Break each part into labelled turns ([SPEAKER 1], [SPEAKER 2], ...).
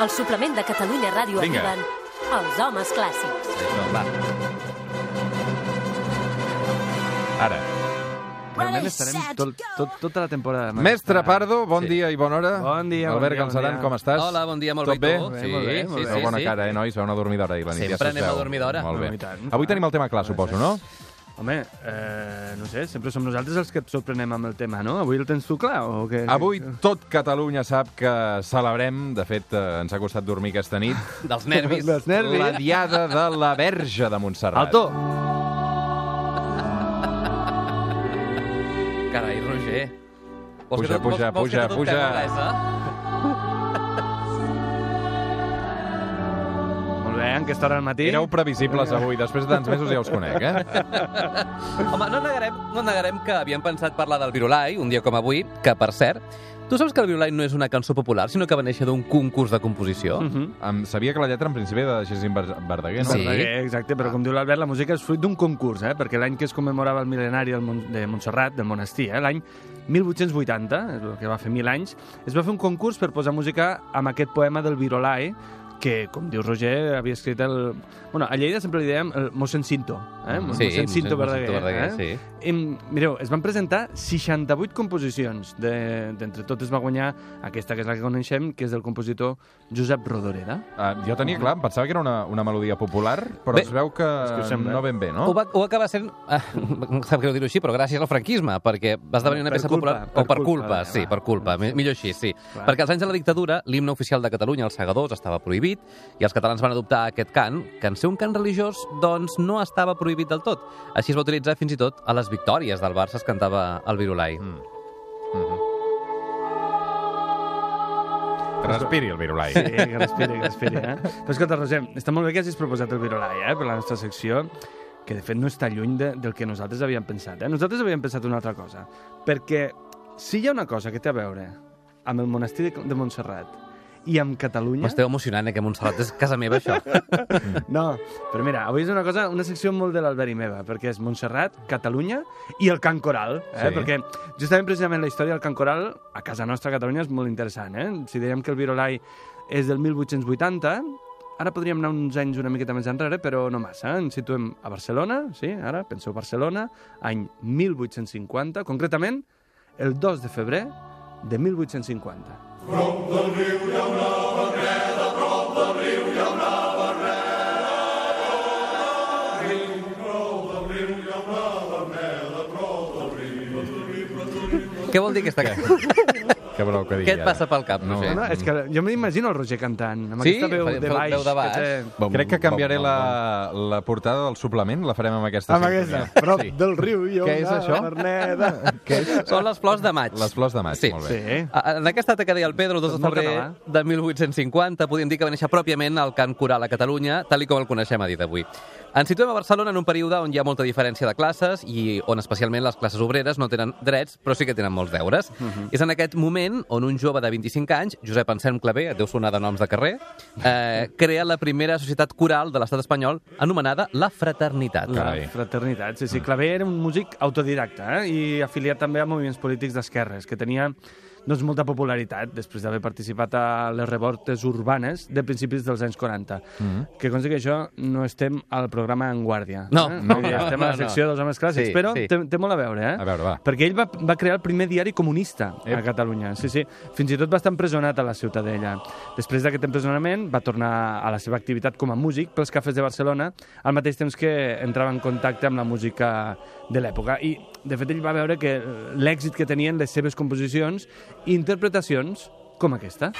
[SPEAKER 1] Al suplement de Catalunya Ràdio
[SPEAKER 2] Vinga.
[SPEAKER 1] arriben els homes clàssics.
[SPEAKER 2] Això, va. Ara.
[SPEAKER 3] Realment estarem tot, tot, tota la temporada.
[SPEAKER 4] Mestre Pardo, bon
[SPEAKER 2] Sí.
[SPEAKER 4] dia i bona hora.
[SPEAKER 3] Bon dia, bon
[SPEAKER 4] Albert
[SPEAKER 3] dia, bon
[SPEAKER 4] Galceran,
[SPEAKER 3] dia.
[SPEAKER 4] com estàs?
[SPEAKER 5] Hola, bon dia, molt
[SPEAKER 4] Tot
[SPEAKER 5] bé,
[SPEAKER 4] bé?
[SPEAKER 5] i tu?
[SPEAKER 4] Bé,
[SPEAKER 5] Sí,
[SPEAKER 3] molt bé,
[SPEAKER 5] sí,
[SPEAKER 3] molt bé.
[SPEAKER 5] sí,
[SPEAKER 4] Feu bona
[SPEAKER 5] sí.
[SPEAKER 4] cara, eh, nois? Feu una dormida d'hora ahir a la nit.
[SPEAKER 5] Sempre
[SPEAKER 4] ja s'us
[SPEAKER 5] anem
[SPEAKER 4] veu.
[SPEAKER 5] a dormir d'hora.
[SPEAKER 4] Molt
[SPEAKER 3] No, i
[SPEAKER 4] bé.
[SPEAKER 3] tant.
[SPEAKER 4] Avui tenim el tema clar, suposo, no?
[SPEAKER 3] Home, eh, no sé, sempre som nosaltres els que et sorprenem amb el tema, no? Avui el tens tu clar o què?
[SPEAKER 4] Avui tot Catalunya sap que celebrem, de fet, eh, ens ha costat dormir aquesta nit,
[SPEAKER 5] Dels nervis.
[SPEAKER 3] Dels nervis.
[SPEAKER 4] la Diada de la Verge de Montserrat.
[SPEAKER 3] Alto!
[SPEAKER 5] Carai, Roger.
[SPEAKER 4] Puja,
[SPEAKER 5] Vols que tot- vols-
[SPEAKER 4] puja,
[SPEAKER 5] vols que
[SPEAKER 4] puja,
[SPEAKER 5] tot
[SPEAKER 4] puja.
[SPEAKER 5] fem eh? res,
[SPEAKER 3] Molt bé, en aquesta hora al matí.
[SPEAKER 4] Éreu previsibles avui, després de tants mesos ja us conec, eh?
[SPEAKER 5] eh? Home, no negarem, no negarem que havíem pensat parlar del Virulai, un dia com avui, que, per cert, tu saps que el Virulai no és una cançó popular, sinó que va néixer d'un concurs de composició?
[SPEAKER 3] Mhm.
[SPEAKER 4] Em sabia que la lletra en principi era de Gisín Bar- Verdaguer, no?
[SPEAKER 5] Sí.
[SPEAKER 3] Verdaguer, exacte, però com diu l'Albert, la música és fruit d'un concurs, eh? perquè l'any que es commemorava el mil·lenari del Mon de Montserrat, del monestir, eh? l'any 1880, és el que va fer mil anys, es va fer un concurs per posar música amb aquest poema del Virolai, que, com diu Roger, havia escrit el... Bueno, a Lleida sempre li dèiem el mossèn Cinto, eh?
[SPEAKER 5] Mm. Sí,
[SPEAKER 3] mossèn Cinto Verdaguer. eh?
[SPEAKER 5] sí.
[SPEAKER 3] I, mireu, es van presentar 68 composicions. De- D'entre totes va guanyar aquesta, que és la que coneixem, que és del compositor Josep Rodoreda.
[SPEAKER 4] Ah, jo tenia clar, em pensava que era una, una melodia popular, però
[SPEAKER 5] Bé,
[SPEAKER 4] es veu que,
[SPEAKER 3] que ho sembla. eh?
[SPEAKER 4] no ben bé, no?
[SPEAKER 5] Ho, va, ho acaba sent, ah, em sap greu dir-ho així, però gràcies al franquisme, perquè va esdevenir una
[SPEAKER 3] Per
[SPEAKER 5] peça
[SPEAKER 3] culpa,
[SPEAKER 5] popular...
[SPEAKER 3] per
[SPEAKER 5] o per
[SPEAKER 3] culpa,
[SPEAKER 5] culpa,
[SPEAKER 3] va,
[SPEAKER 5] sí,
[SPEAKER 3] va.
[SPEAKER 5] per culpa, mi- millor així, sí.
[SPEAKER 3] Clar.
[SPEAKER 5] Perquè als anys de la dictadura, l'himne oficial de Catalunya, els segadors, estava prohibit, i els catalans van adoptar aquest cant, que en ser un cant religiós, doncs no estava prohibit del tot. Així es va utilitzar fins i tot a les victòries del Barça, es cantava el Virolai.
[SPEAKER 4] Mm. Mhm. Respiri el virulai.
[SPEAKER 3] Sí, que respiri, que respiri, eh? Però escolta, Roser, està molt bé que hagis proposat el Virolai, eh?, per la nostra secció, que de fet no està lluny de, del que nosaltres havíem pensat, eh? Nosaltres havíem pensat una altra cosa, perquè si hi ha una cosa que té a veure amb el monestir de, de Montserrat i amb Catalunya...
[SPEAKER 5] M'esteu emocionant, eh, que Montserrat és casa meva, això.
[SPEAKER 3] No, però mira, avui és una cosa, una secció molt de l'Albert i meva, perquè és Montserrat, Catalunya i el Can Coral, eh?
[SPEAKER 4] Sí.
[SPEAKER 3] Sí. Perquè justament precisament la història del Can Coral a casa nostra, a Catalunya, és molt interessant, eh? Si dèiem que el Virolai és del 1880, ara podríem anar uns anys una miqueta més enrere, però no massa. eh? Ens situem a Barcelona, sí, ara, penseu Barcelona, any 1850, concretament el 2 de febrer de 1850.
[SPEAKER 5] Què vol dir aquesta cançó?
[SPEAKER 4] Que voleu que digui
[SPEAKER 5] Què et
[SPEAKER 4] ara?
[SPEAKER 5] passa pel cap,
[SPEAKER 4] No,
[SPEAKER 5] Roger?
[SPEAKER 3] No, és que jo m'imagino el Roger cantant, amb
[SPEAKER 5] Sí?
[SPEAKER 3] aquesta veu
[SPEAKER 5] Fa-
[SPEAKER 3] de
[SPEAKER 5] fa-
[SPEAKER 3] baix.
[SPEAKER 5] veu de baix.
[SPEAKER 3] Que té...
[SPEAKER 4] Crec que canviaré la, la portada del suplement, la farem amb aquesta
[SPEAKER 6] Amb
[SPEAKER 4] sintonia.
[SPEAKER 6] aquesta, prop
[SPEAKER 4] Sí.
[SPEAKER 6] del riu i
[SPEAKER 4] Què és això?
[SPEAKER 6] Berneda.
[SPEAKER 4] Què és?
[SPEAKER 5] Són les flors de maig.
[SPEAKER 4] Les flors de maig,
[SPEAKER 5] Sí.
[SPEAKER 4] molt bé.
[SPEAKER 3] Sí.
[SPEAKER 5] A- En aquesta data que deia el Pedro, el 2 de
[SPEAKER 3] Molt
[SPEAKER 5] febrer
[SPEAKER 3] català.
[SPEAKER 5] de 1850, podíem dir que va néixer pròpiament el cant coral a Catalunya, tal i com el coneixem a dia d'avui. Ens situem a Barcelona en un període on hi ha molta diferència de classes i on especialment les classes obreres no tenen drets, però sí que tenen molts deures.
[SPEAKER 3] Mhm.
[SPEAKER 5] És en aquest moment on un jove de 25 anys, Josep Anselm Clavé, et deu sonar de noms de carrer, eh, crea la primera societat coral de l'estat espanyol anomenada La Fraternitat.
[SPEAKER 3] La
[SPEAKER 4] Carai.
[SPEAKER 3] fraternitat, sí, sí. Clavé era un músic autodidacta eh? i afiliat també a moviments polítics d'esquerres, que tenia doncs, molta popularitat després d'haver participat a les revoltes urbanes de principis dels anys 40. Mm -hmm.
[SPEAKER 4] Mm-hmm.
[SPEAKER 3] Que consti que això no estem al programa En Guàrdia.
[SPEAKER 5] No,
[SPEAKER 3] eh?
[SPEAKER 5] no,
[SPEAKER 3] Vull dir,
[SPEAKER 5] no,
[SPEAKER 3] Estem a la
[SPEAKER 5] no, no.
[SPEAKER 3] secció dels homes clàssics,
[SPEAKER 5] Sí,
[SPEAKER 3] però
[SPEAKER 5] sí.
[SPEAKER 3] té, té molt a veure, eh?
[SPEAKER 4] A veure, va.
[SPEAKER 3] Perquè ell va, va crear el primer diari comunista
[SPEAKER 4] Ep.
[SPEAKER 3] a Catalunya. Sí, sí. Fins i tot va estar empresonat a la Ciutadella. Després d'aquest empresonament va tornar a la seva activitat com a músic pels cafès de Barcelona, al mateix temps que entrava en contacte amb la música de l'època. I, de fet, ell va veure que eh, l'èxit que tenien les seves composicions i interpretacions com aquesta.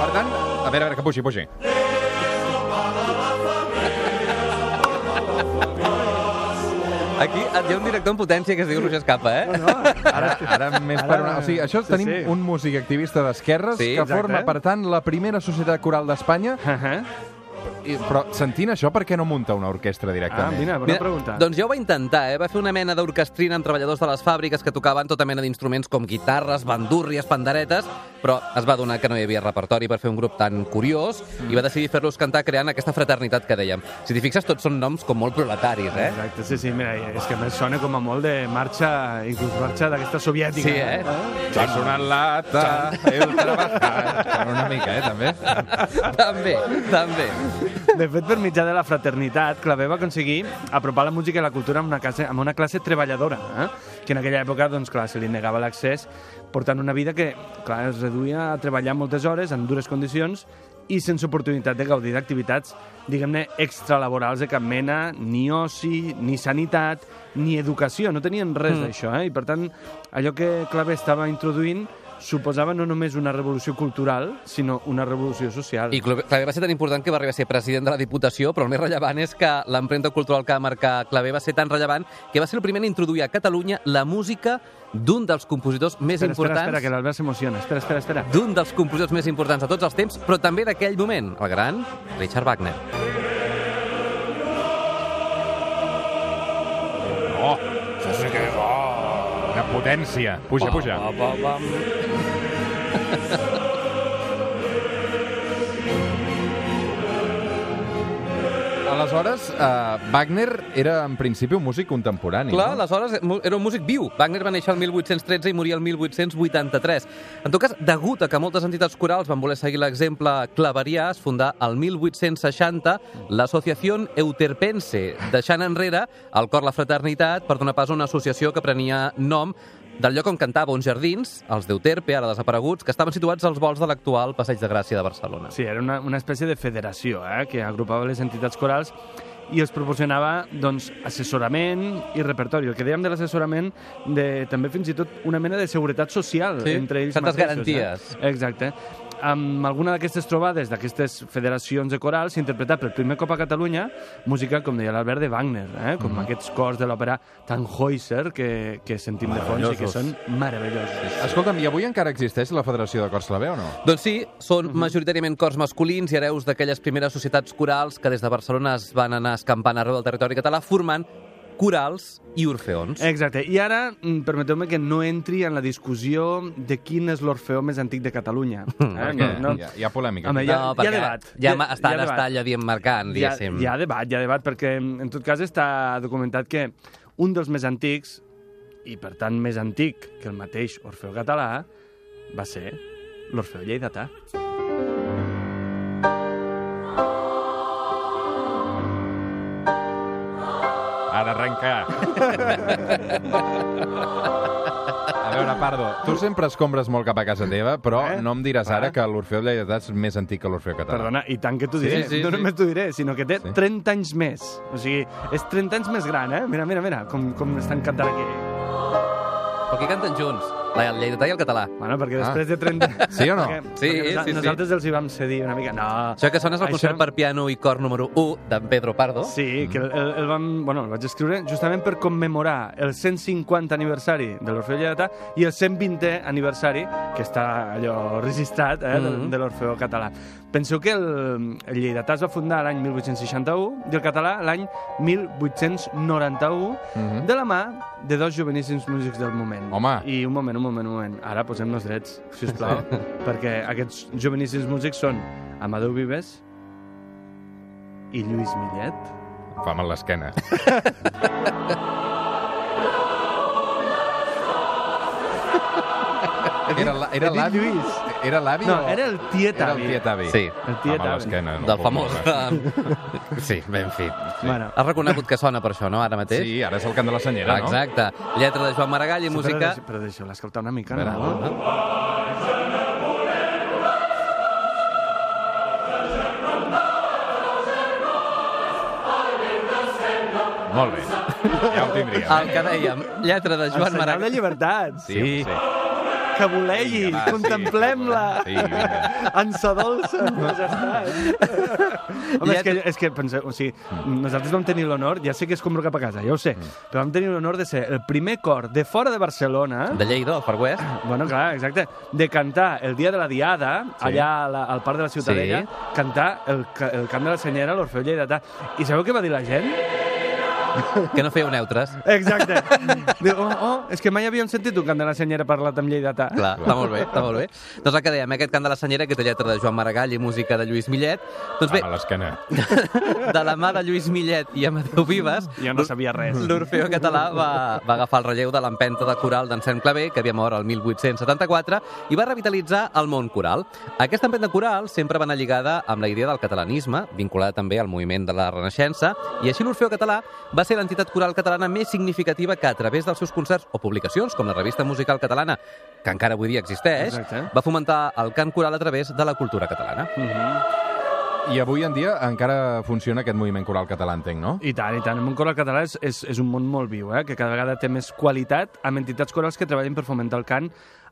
[SPEAKER 4] Per tant, a veure, a veure, que pugi, pugi.
[SPEAKER 5] Aquí hi ha un director en potència que es diu Roger Escapa, eh? No, no.
[SPEAKER 4] Ara, ara més per una... O sigui, això
[SPEAKER 3] Sí,
[SPEAKER 4] tenim
[SPEAKER 3] sí.
[SPEAKER 4] un músic activista d'esquerres
[SPEAKER 5] Sí,
[SPEAKER 4] que
[SPEAKER 3] exacte. Ah,
[SPEAKER 4] forma, per tant, la primera societat coral d'Espanya
[SPEAKER 3] Uh -huh.
[SPEAKER 4] i, però sentint això, per què no munta una orquestra
[SPEAKER 3] Ah,
[SPEAKER 4] directament?
[SPEAKER 3] mira, bona pregunta.
[SPEAKER 5] Doncs ja ho va intentar, eh? va fer una mena d'orquestrina amb treballadors de les fàbriques que tocaven tota mena d'instruments com guitarres, bandúrries, panderetes, però es va donar que no hi havia repertori per fer un grup tan curiós i va decidir fer-los cantar creant aquesta fraternitat que dèiem. Si t'hi fixes, tots són noms com molt proletaris, eh?
[SPEAKER 3] Exacte, sí, sí, mira, és que a més sona com a molt de marxa, inclús marxa d'aquesta soviètica.
[SPEAKER 5] Sí, eh?
[SPEAKER 4] Ha sonat l'ata, el treball... Una mica, eh, també.
[SPEAKER 5] també, també.
[SPEAKER 3] De fet, per mitjà de la fraternitat, Clavé va aconseguir apropar la música i la cultura amb una classe, amb una classe treballadora, eh? que en aquella època, doncs, clar, se li negava l'accés, portant una vida que, clar, es reduïa a treballar moltes hores, en dures condicions, i sense oportunitat de gaudir d'activitats, diguem-ne, extralaborals de cap mena, ni oci, ni sanitat, ni educació. No tenien res mm. d'això, eh? I, per tant, allò que Clavé estava introduint suposava no només una revolució cultural, sinó una revolució social.
[SPEAKER 5] I Clavé Clavé va ser tan important que va arribar a ser president de la Diputació, però el més rellevant és que l'empremta cultural que va marcar Clavé va ser tan rellevant que va ser el primer a introduir a Catalunya la música d'un dels compositors més
[SPEAKER 3] espera,
[SPEAKER 5] importants...
[SPEAKER 3] Espera, espera, que l'Albert s'emociona. Espera, espera, espera.
[SPEAKER 5] d'un dels compositors més importants de tots els temps, però també d'aquell moment, el gran Richard Wagner.
[SPEAKER 4] Oh, això sí que Oh, és... Oh, una potència. Puja, puja.
[SPEAKER 5] Ba, ba, ba, ba.
[SPEAKER 4] Aleshores, eh, Wagner era en principi un músic contemporani.
[SPEAKER 5] Clar,
[SPEAKER 4] no?
[SPEAKER 5] aleshores mu- era un músic viu. Wagner va néixer el 1813 i moria el 1883. En tot cas, degut a que moltes entitats corals van voler seguir l'exemple claverià, es fundà el 1860 l'Associació Euterpense, deixant enrere el cor La Fraternitat per donar pas a una associació que prenia nom del lloc on cantava uns jardins, els d'Euterpe, ara desapareguts, que estaven situats als vols de l'actual Passeig de Gràcia de Barcelona.
[SPEAKER 3] Sí, era una, una espècie de federació eh, que agrupava les entitats corals i els proporcionava doncs, assessorament i repertori. El que dèiem de l'assessorament, de, també fins i tot una mena de seguretat social
[SPEAKER 5] Sí,
[SPEAKER 3] entre ells
[SPEAKER 5] certes
[SPEAKER 3] mateixos.
[SPEAKER 5] garanties.
[SPEAKER 3] Eh? Exacte. Amb alguna d'aquestes trobades, d'aquestes federacions de corals, s'interpretà per primer cop a Catalunya música, com deia l'Albert, de Wagner, eh? com
[SPEAKER 5] Mm.
[SPEAKER 3] aquests cors de l'òpera Tannhäuser que, que sentim de fons i que
[SPEAKER 4] Meravellosos.
[SPEAKER 3] són meravellosos.
[SPEAKER 4] Escolta'm, i avui encara existeix la Federació de Cors Clavé o no?
[SPEAKER 5] Doncs sí, són
[SPEAKER 3] Mhm.
[SPEAKER 5] majoritàriament cors masculins i hereus d'aquelles primeres societats corals que des de Barcelona es van anar escampant arreu del territori català formant corals i orfeons.
[SPEAKER 3] Exacte. I ara, mm, permeteu-me que no entri en la discussió de quin és l'orfeó més antic de Catalunya.
[SPEAKER 5] Ah,
[SPEAKER 3] Eh?
[SPEAKER 4] Perquè Mm, Hi, ha, hi ha polèmica.
[SPEAKER 3] Home,
[SPEAKER 4] aquí.
[SPEAKER 3] hi ha-
[SPEAKER 5] perquè
[SPEAKER 3] debat.
[SPEAKER 5] Ja,
[SPEAKER 3] Hi ha-
[SPEAKER 5] ja està,
[SPEAKER 3] hi ha
[SPEAKER 5] ara
[SPEAKER 3] debat.
[SPEAKER 5] està allà dient mercant,
[SPEAKER 3] Hi ha,
[SPEAKER 5] diguéssim.
[SPEAKER 3] hi ha debat, hi ha debat, perquè mm, en tot cas està documentat que un dels més antics, i per tant més antic que el mateix Orfeu català, va ser l'Orfeu lleidatà.
[SPEAKER 4] Ha d'arrencar. A veure, Pardo, tu sempre escombres molt cap a casa teva, però
[SPEAKER 3] Eh?
[SPEAKER 4] eh? no em diràs
[SPEAKER 3] Va.
[SPEAKER 4] ara que l'Orfeo Lleidatà és més antic que l'Orfeo Català.
[SPEAKER 3] Perdona, i tant que t'ho diré.
[SPEAKER 5] Ah. sí,
[SPEAKER 3] no
[SPEAKER 5] sí.
[SPEAKER 3] només t'ho diré, sinó que té
[SPEAKER 4] Sí.
[SPEAKER 3] 30 anys més. O sigui, és 30 anys més gran, eh? Mira, mira, mira, com, com estan cantant aquí.
[SPEAKER 5] Per què canten junts? La lleidatà i el català.
[SPEAKER 3] Bueno, perquè
[SPEAKER 4] Ah.
[SPEAKER 3] després de 30...
[SPEAKER 4] Sí o no?
[SPEAKER 3] Perquè,
[SPEAKER 5] Sí,
[SPEAKER 3] perquè nosa-
[SPEAKER 5] sí, sí.
[SPEAKER 3] nosaltres els hi vam cedir una mica. No.
[SPEAKER 5] Això que sona és el concert per piano i cor número 1 d'en Pedro Pardo.
[SPEAKER 3] Sí, que el, el, el vam, bueno, el vaig escriure justament per commemorar el 150 aniversari de l'Orfeo Lleidatà i el 120è aniversari, que està allò registrat, eh, de,
[SPEAKER 5] Mhm.
[SPEAKER 3] de l'Orfeo català. Penseu que el, el Lleidatà es va fundar l'any 1861 i el català l'any 1891
[SPEAKER 4] Mhm.
[SPEAKER 3] de la mà de dos joveníssims músics del moment.
[SPEAKER 4] Home.
[SPEAKER 3] I un moment, un moment, un moment. Ara posem-nos drets, si us plau, perquè aquests joveníssims músics són Amadeu Vives i Lluís Millet.
[SPEAKER 4] Fa mal l'esquena. Era la- era
[SPEAKER 3] He dit
[SPEAKER 4] l'avi?
[SPEAKER 3] Lluís.
[SPEAKER 4] Era l'avi
[SPEAKER 3] No,
[SPEAKER 4] o...?
[SPEAKER 3] era el tiet
[SPEAKER 4] Era
[SPEAKER 3] avi.
[SPEAKER 4] el tiet avi.
[SPEAKER 5] Sí,
[SPEAKER 3] el tiet
[SPEAKER 4] Fa mal
[SPEAKER 3] avi.
[SPEAKER 4] l'esquena. No
[SPEAKER 5] del
[SPEAKER 4] puc
[SPEAKER 5] famós... eh,
[SPEAKER 4] veure.
[SPEAKER 5] sí, bé, en fi.
[SPEAKER 3] Bueno,
[SPEAKER 5] Has reconegut que sona per això, no, ara mateix?
[SPEAKER 4] Sí, ara és el cant de la senyera, no?
[SPEAKER 5] Exacte. Lletra de Joan Maragall i
[SPEAKER 3] música...
[SPEAKER 5] música...
[SPEAKER 3] Però, deixeu- però deixeu-la escoltar una mica,
[SPEAKER 4] Espera,
[SPEAKER 3] no?
[SPEAKER 4] Molt bé. Ja ho tindríem. eh?
[SPEAKER 5] El que dèiem, lletra de
[SPEAKER 3] El
[SPEAKER 5] Joan
[SPEAKER 3] senyal de
[SPEAKER 5] Maragall.
[SPEAKER 3] llibertat.
[SPEAKER 4] Sí, sí.
[SPEAKER 3] que volegui,
[SPEAKER 4] Vinga, va, sí,
[SPEAKER 3] contemplem-la.
[SPEAKER 4] sí, vinga.
[SPEAKER 3] Ansa dolça, doncs ja està. Home, és que, és que penseu, o sigui, nosaltres vam tenir l'honor, ja sé que és com cap a casa, ja ho sé, però vam tenir l'honor de ser el primer cor de fora de Barcelona
[SPEAKER 5] De Lleida, del Far West.
[SPEAKER 3] Bueno, clar, exacte. De cantar el dia de la Diada, sí. allà a la, al Parc de la Ciutadella,
[SPEAKER 5] Sí.
[SPEAKER 3] sí. cantar el, ca- el Camp de la Senyera, l'Orfeu Lleidatà. I sabeu què va dir la gent?
[SPEAKER 5] Que no fèieu neutres.
[SPEAKER 3] Exacte. Diu, oh, oh, és que mai havíem sentit un Camp de la Senyera parlat amb Lleidatà.
[SPEAKER 5] Clar, està molt bé, està molt bé. Doncs el que dèiem, aquest cant de la senyera, que té lletra de Joan Maragall i música de Lluís Millet. Doncs bé,
[SPEAKER 4] Amb l'esquena.
[SPEAKER 5] de la mà de Lluís Millet i Amadeu Vives, doncs
[SPEAKER 3] Jo no sabia res.
[SPEAKER 5] l'Orfeo Català va, va agafar el relleu de l'empenta de coral d'Anselm Clavé, que havia mort el 1874, i va revitalitzar el món coral. Aquesta empenta coral sempre va anar lligada amb la idea del catalanisme, vinculada també al moviment de la Renaixença, i així l'Orfeo Català va ser l'entitat coral catalana més significativa que a través dels seus concerts o publicacions, com la Revista Musical Catalana, que encara avui dia existeix,
[SPEAKER 3] Exacte.
[SPEAKER 5] va fomentar el cant coral a través de la cultura catalana.
[SPEAKER 4] I avui en dia encara funciona aquest moviment coral català, entenc, no?
[SPEAKER 3] I tant, i tant. El món coral català és, és, és un món molt viu, eh? que cada vegada té més qualitat amb entitats corals que treballen per fomentar el cant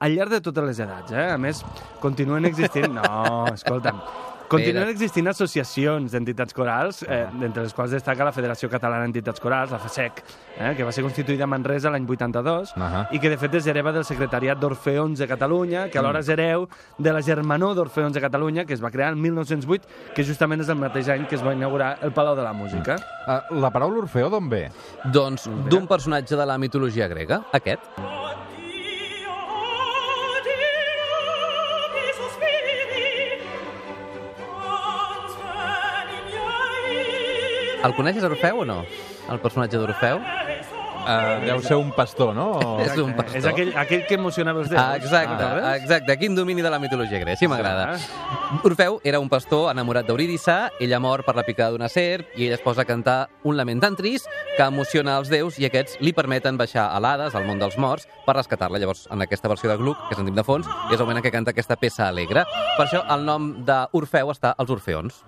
[SPEAKER 3] al llarg de totes les edats. Eh? A més, continuen existint... No, escolta'm. Continuen
[SPEAKER 5] Espera.
[SPEAKER 3] existint associacions d'entitats corals, eh, entre les quals destaca la Federació Catalana d'Entitats Corals, la FASEC, eh, que va ser constituïda a Manresa l'any 82
[SPEAKER 4] Ahà.
[SPEAKER 3] i que, de fet, és hereva del secretariat d'Orfeons de Catalunya, que alhora és hereu de la germanor d'Orfeons de Catalunya, que es va crear el 1908, que justament és el mateix any que es va inaugurar el Palau de la Música.
[SPEAKER 4] Uh, la paraula Orfeo d'on ve?
[SPEAKER 5] Doncs d'un personatge de la mitologia grega, aquest. El coneixes, Orfeu, o no? El personatge d'Orfeu?
[SPEAKER 4] Uh, deu ser un pastor, no? O...
[SPEAKER 5] És un pastor.
[SPEAKER 3] Oh, Eh, És aquell, aquell que emocionava els dedos.
[SPEAKER 5] Ah, exacte,
[SPEAKER 3] Ah,
[SPEAKER 5] ah,
[SPEAKER 3] veus?
[SPEAKER 5] exacte. Quin domini de la mitologia grega, sí m'agrada.
[SPEAKER 3] Ah,
[SPEAKER 5] Orfeu era un pastor enamorat d'Eurídice, ella mor per la picada d'una serp i ell es posa a cantar un lament tan trist que emociona els déus i aquests li permeten baixar a l'Hades, al món dels morts, per rescatar-la. Llavors, en aquesta versió de Gluck, que sentim de fons, és el moment en què canta aquesta peça alegre. Per això el nom d'Orfeu està als Orfeons.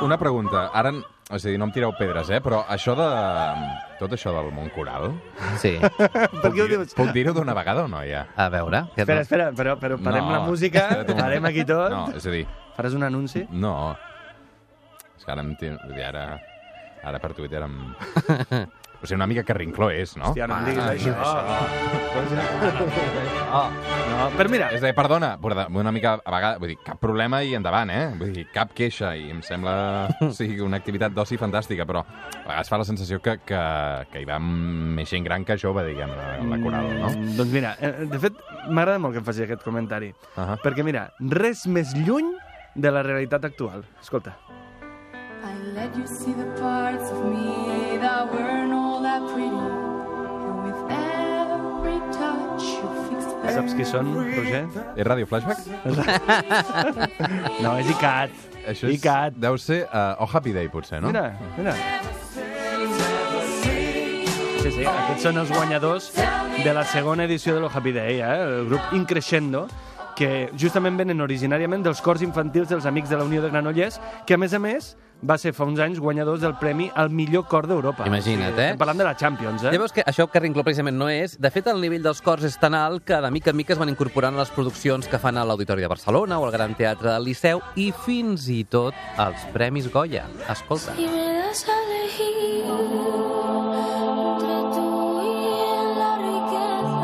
[SPEAKER 4] Una pregunta. Ara, és a dir, no em tireu pedres, eh? Però això de... Tot això del món coral...
[SPEAKER 5] Sí.
[SPEAKER 3] Per què ho dius?
[SPEAKER 4] Puc dir-ho d'una vegada o no, ja?
[SPEAKER 5] A veure... què-
[SPEAKER 3] Espera, espera, però, però parem
[SPEAKER 4] No.
[SPEAKER 3] la música,
[SPEAKER 4] Espera't un moment.
[SPEAKER 3] parem aquí tot.
[SPEAKER 4] No, és a dir,
[SPEAKER 3] Faràs un anunci?
[SPEAKER 4] no. És que ara em... tiro- vull dir, Ara, ara per Twitter em... O sigui, una mica que rincló és, no?
[SPEAKER 3] Hòstia, no em diguis
[SPEAKER 4] Ah,
[SPEAKER 3] això.
[SPEAKER 5] Oh.
[SPEAKER 3] No, però mira,
[SPEAKER 4] És de, perdona, perdona, una mica a vegades, vull dir, cap problema i endavant, eh? Vull dir, cap queixa i em sembla o sigui, una activitat d'oci fantàstica, però a vegades fa la sensació que, que, que hi va més gent gran que jove, diguem, la, la coral, no?
[SPEAKER 3] Mm, Doncs mira, eh, de fet, m'agrada molt que em facis aquest comentari.
[SPEAKER 4] Ahà.
[SPEAKER 3] Perquè mira, res més lluny de la realitat actual. Escolta.
[SPEAKER 6] I let you see the parts of me that weren't all that pretty. And with every touch, you fixed
[SPEAKER 3] Saps qui són, Roger?
[SPEAKER 4] És Radio Flashback?
[SPEAKER 3] No, és ICAT.
[SPEAKER 4] Això és,
[SPEAKER 3] ICAT.
[SPEAKER 4] deu ser uh, Oh Happy Day, potser, no?
[SPEAKER 3] Mira, mira. Sí, sí, aquests són els guanyadors de la segona edició de lo Happy Day, eh? el grup Increscendo, que justament venen originàriament dels cors infantils dels Amics de la Unió de Granollers, que a més a més va ser fa uns anys guanyadors del premi al millor cor d'Europa.
[SPEAKER 5] Imagina't, eh?
[SPEAKER 3] Estem parlant de la Champions, eh?
[SPEAKER 5] Llavors, que això que Rincló precisament no és, de fet, el nivell dels cors és tan alt que de mica en mica es van incorporant a les produccions que fan a l'Auditori de Barcelona o al Gran Teatre del Liceu i fins i tot als Premis Goya. Escolta.
[SPEAKER 7] Si me das a elegir entre tú y la riqueza,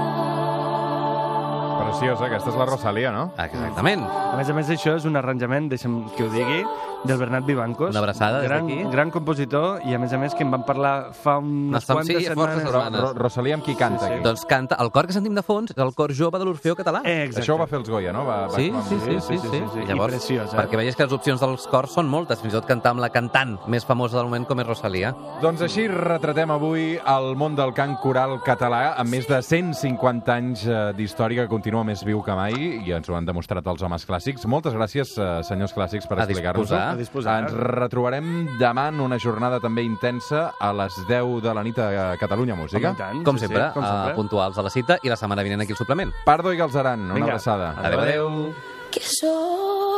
[SPEAKER 4] Preciosa, aquesta és la Rosalia, no?
[SPEAKER 5] Exactament.
[SPEAKER 3] A més a més, això és un arranjament, deixa'm que ho digui, del Bernat Vivancos.
[SPEAKER 5] Una abraçada des
[SPEAKER 3] gran,
[SPEAKER 5] d'aquí.
[SPEAKER 3] Gran compositor, i a més a més que en vam parlar fa unes
[SPEAKER 5] Estem-
[SPEAKER 3] quantes
[SPEAKER 5] sí, força
[SPEAKER 3] setmanes.
[SPEAKER 5] setmanes.
[SPEAKER 4] Ro Rosalia amb qui canta aquí?
[SPEAKER 5] Doncs canta, el cor que sentim de fons és el cor jove de l'Orfeo Català.
[SPEAKER 3] Eh, exacte.
[SPEAKER 4] Això ho va fer els Goya, no? Va, va
[SPEAKER 5] Sí,
[SPEAKER 4] actuar amb-
[SPEAKER 5] sí, sí, sí, sí,
[SPEAKER 3] sí. I
[SPEAKER 5] Llavors,
[SPEAKER 3] preciós, eh?
[SPEAKER 5] perquè veies que les opcions dels cors són moltes, fins i tot cantar amb la cantant més famosa del moment com és Rosalia.
[SPEAKER 4] Doncs així retratem avui el món del cant coral català amb més de 150 anys eh, d'història que continua més viu que mai i ens ho han demostrat els homes clàssics. Moltes gràcies, eh, senyors clàssics, per
[SPEAKER 5] A
[SPEAKER 4] explicar-nos-ho.
[SPEAKER 5] disposar. A
[SPEAKER 3] disposar.
[SPEAKER 4] Ens retrobarem demà en una jornada també intensa a les 10 de la nit a Catalunya Música.
[SPEAKER 3] Com i tant,
[SPEAKER 5] Com
[SPEAKER 3] sí, sí,
[SPEAKER 5] sempre,
[SPEAKER 3] com sempre.
[SPEAKER 5] eh, puntuals a la cita i la setmana vinent aquí el suplement.
[SPEAKER 4] Pardo i Galzeran, una
[SPEAKER 3] Vinga.
[SPEAKER 4] abraçada.
[SPEAKER 5] Adéu, adéu.
[SPEAKER 7] que soy.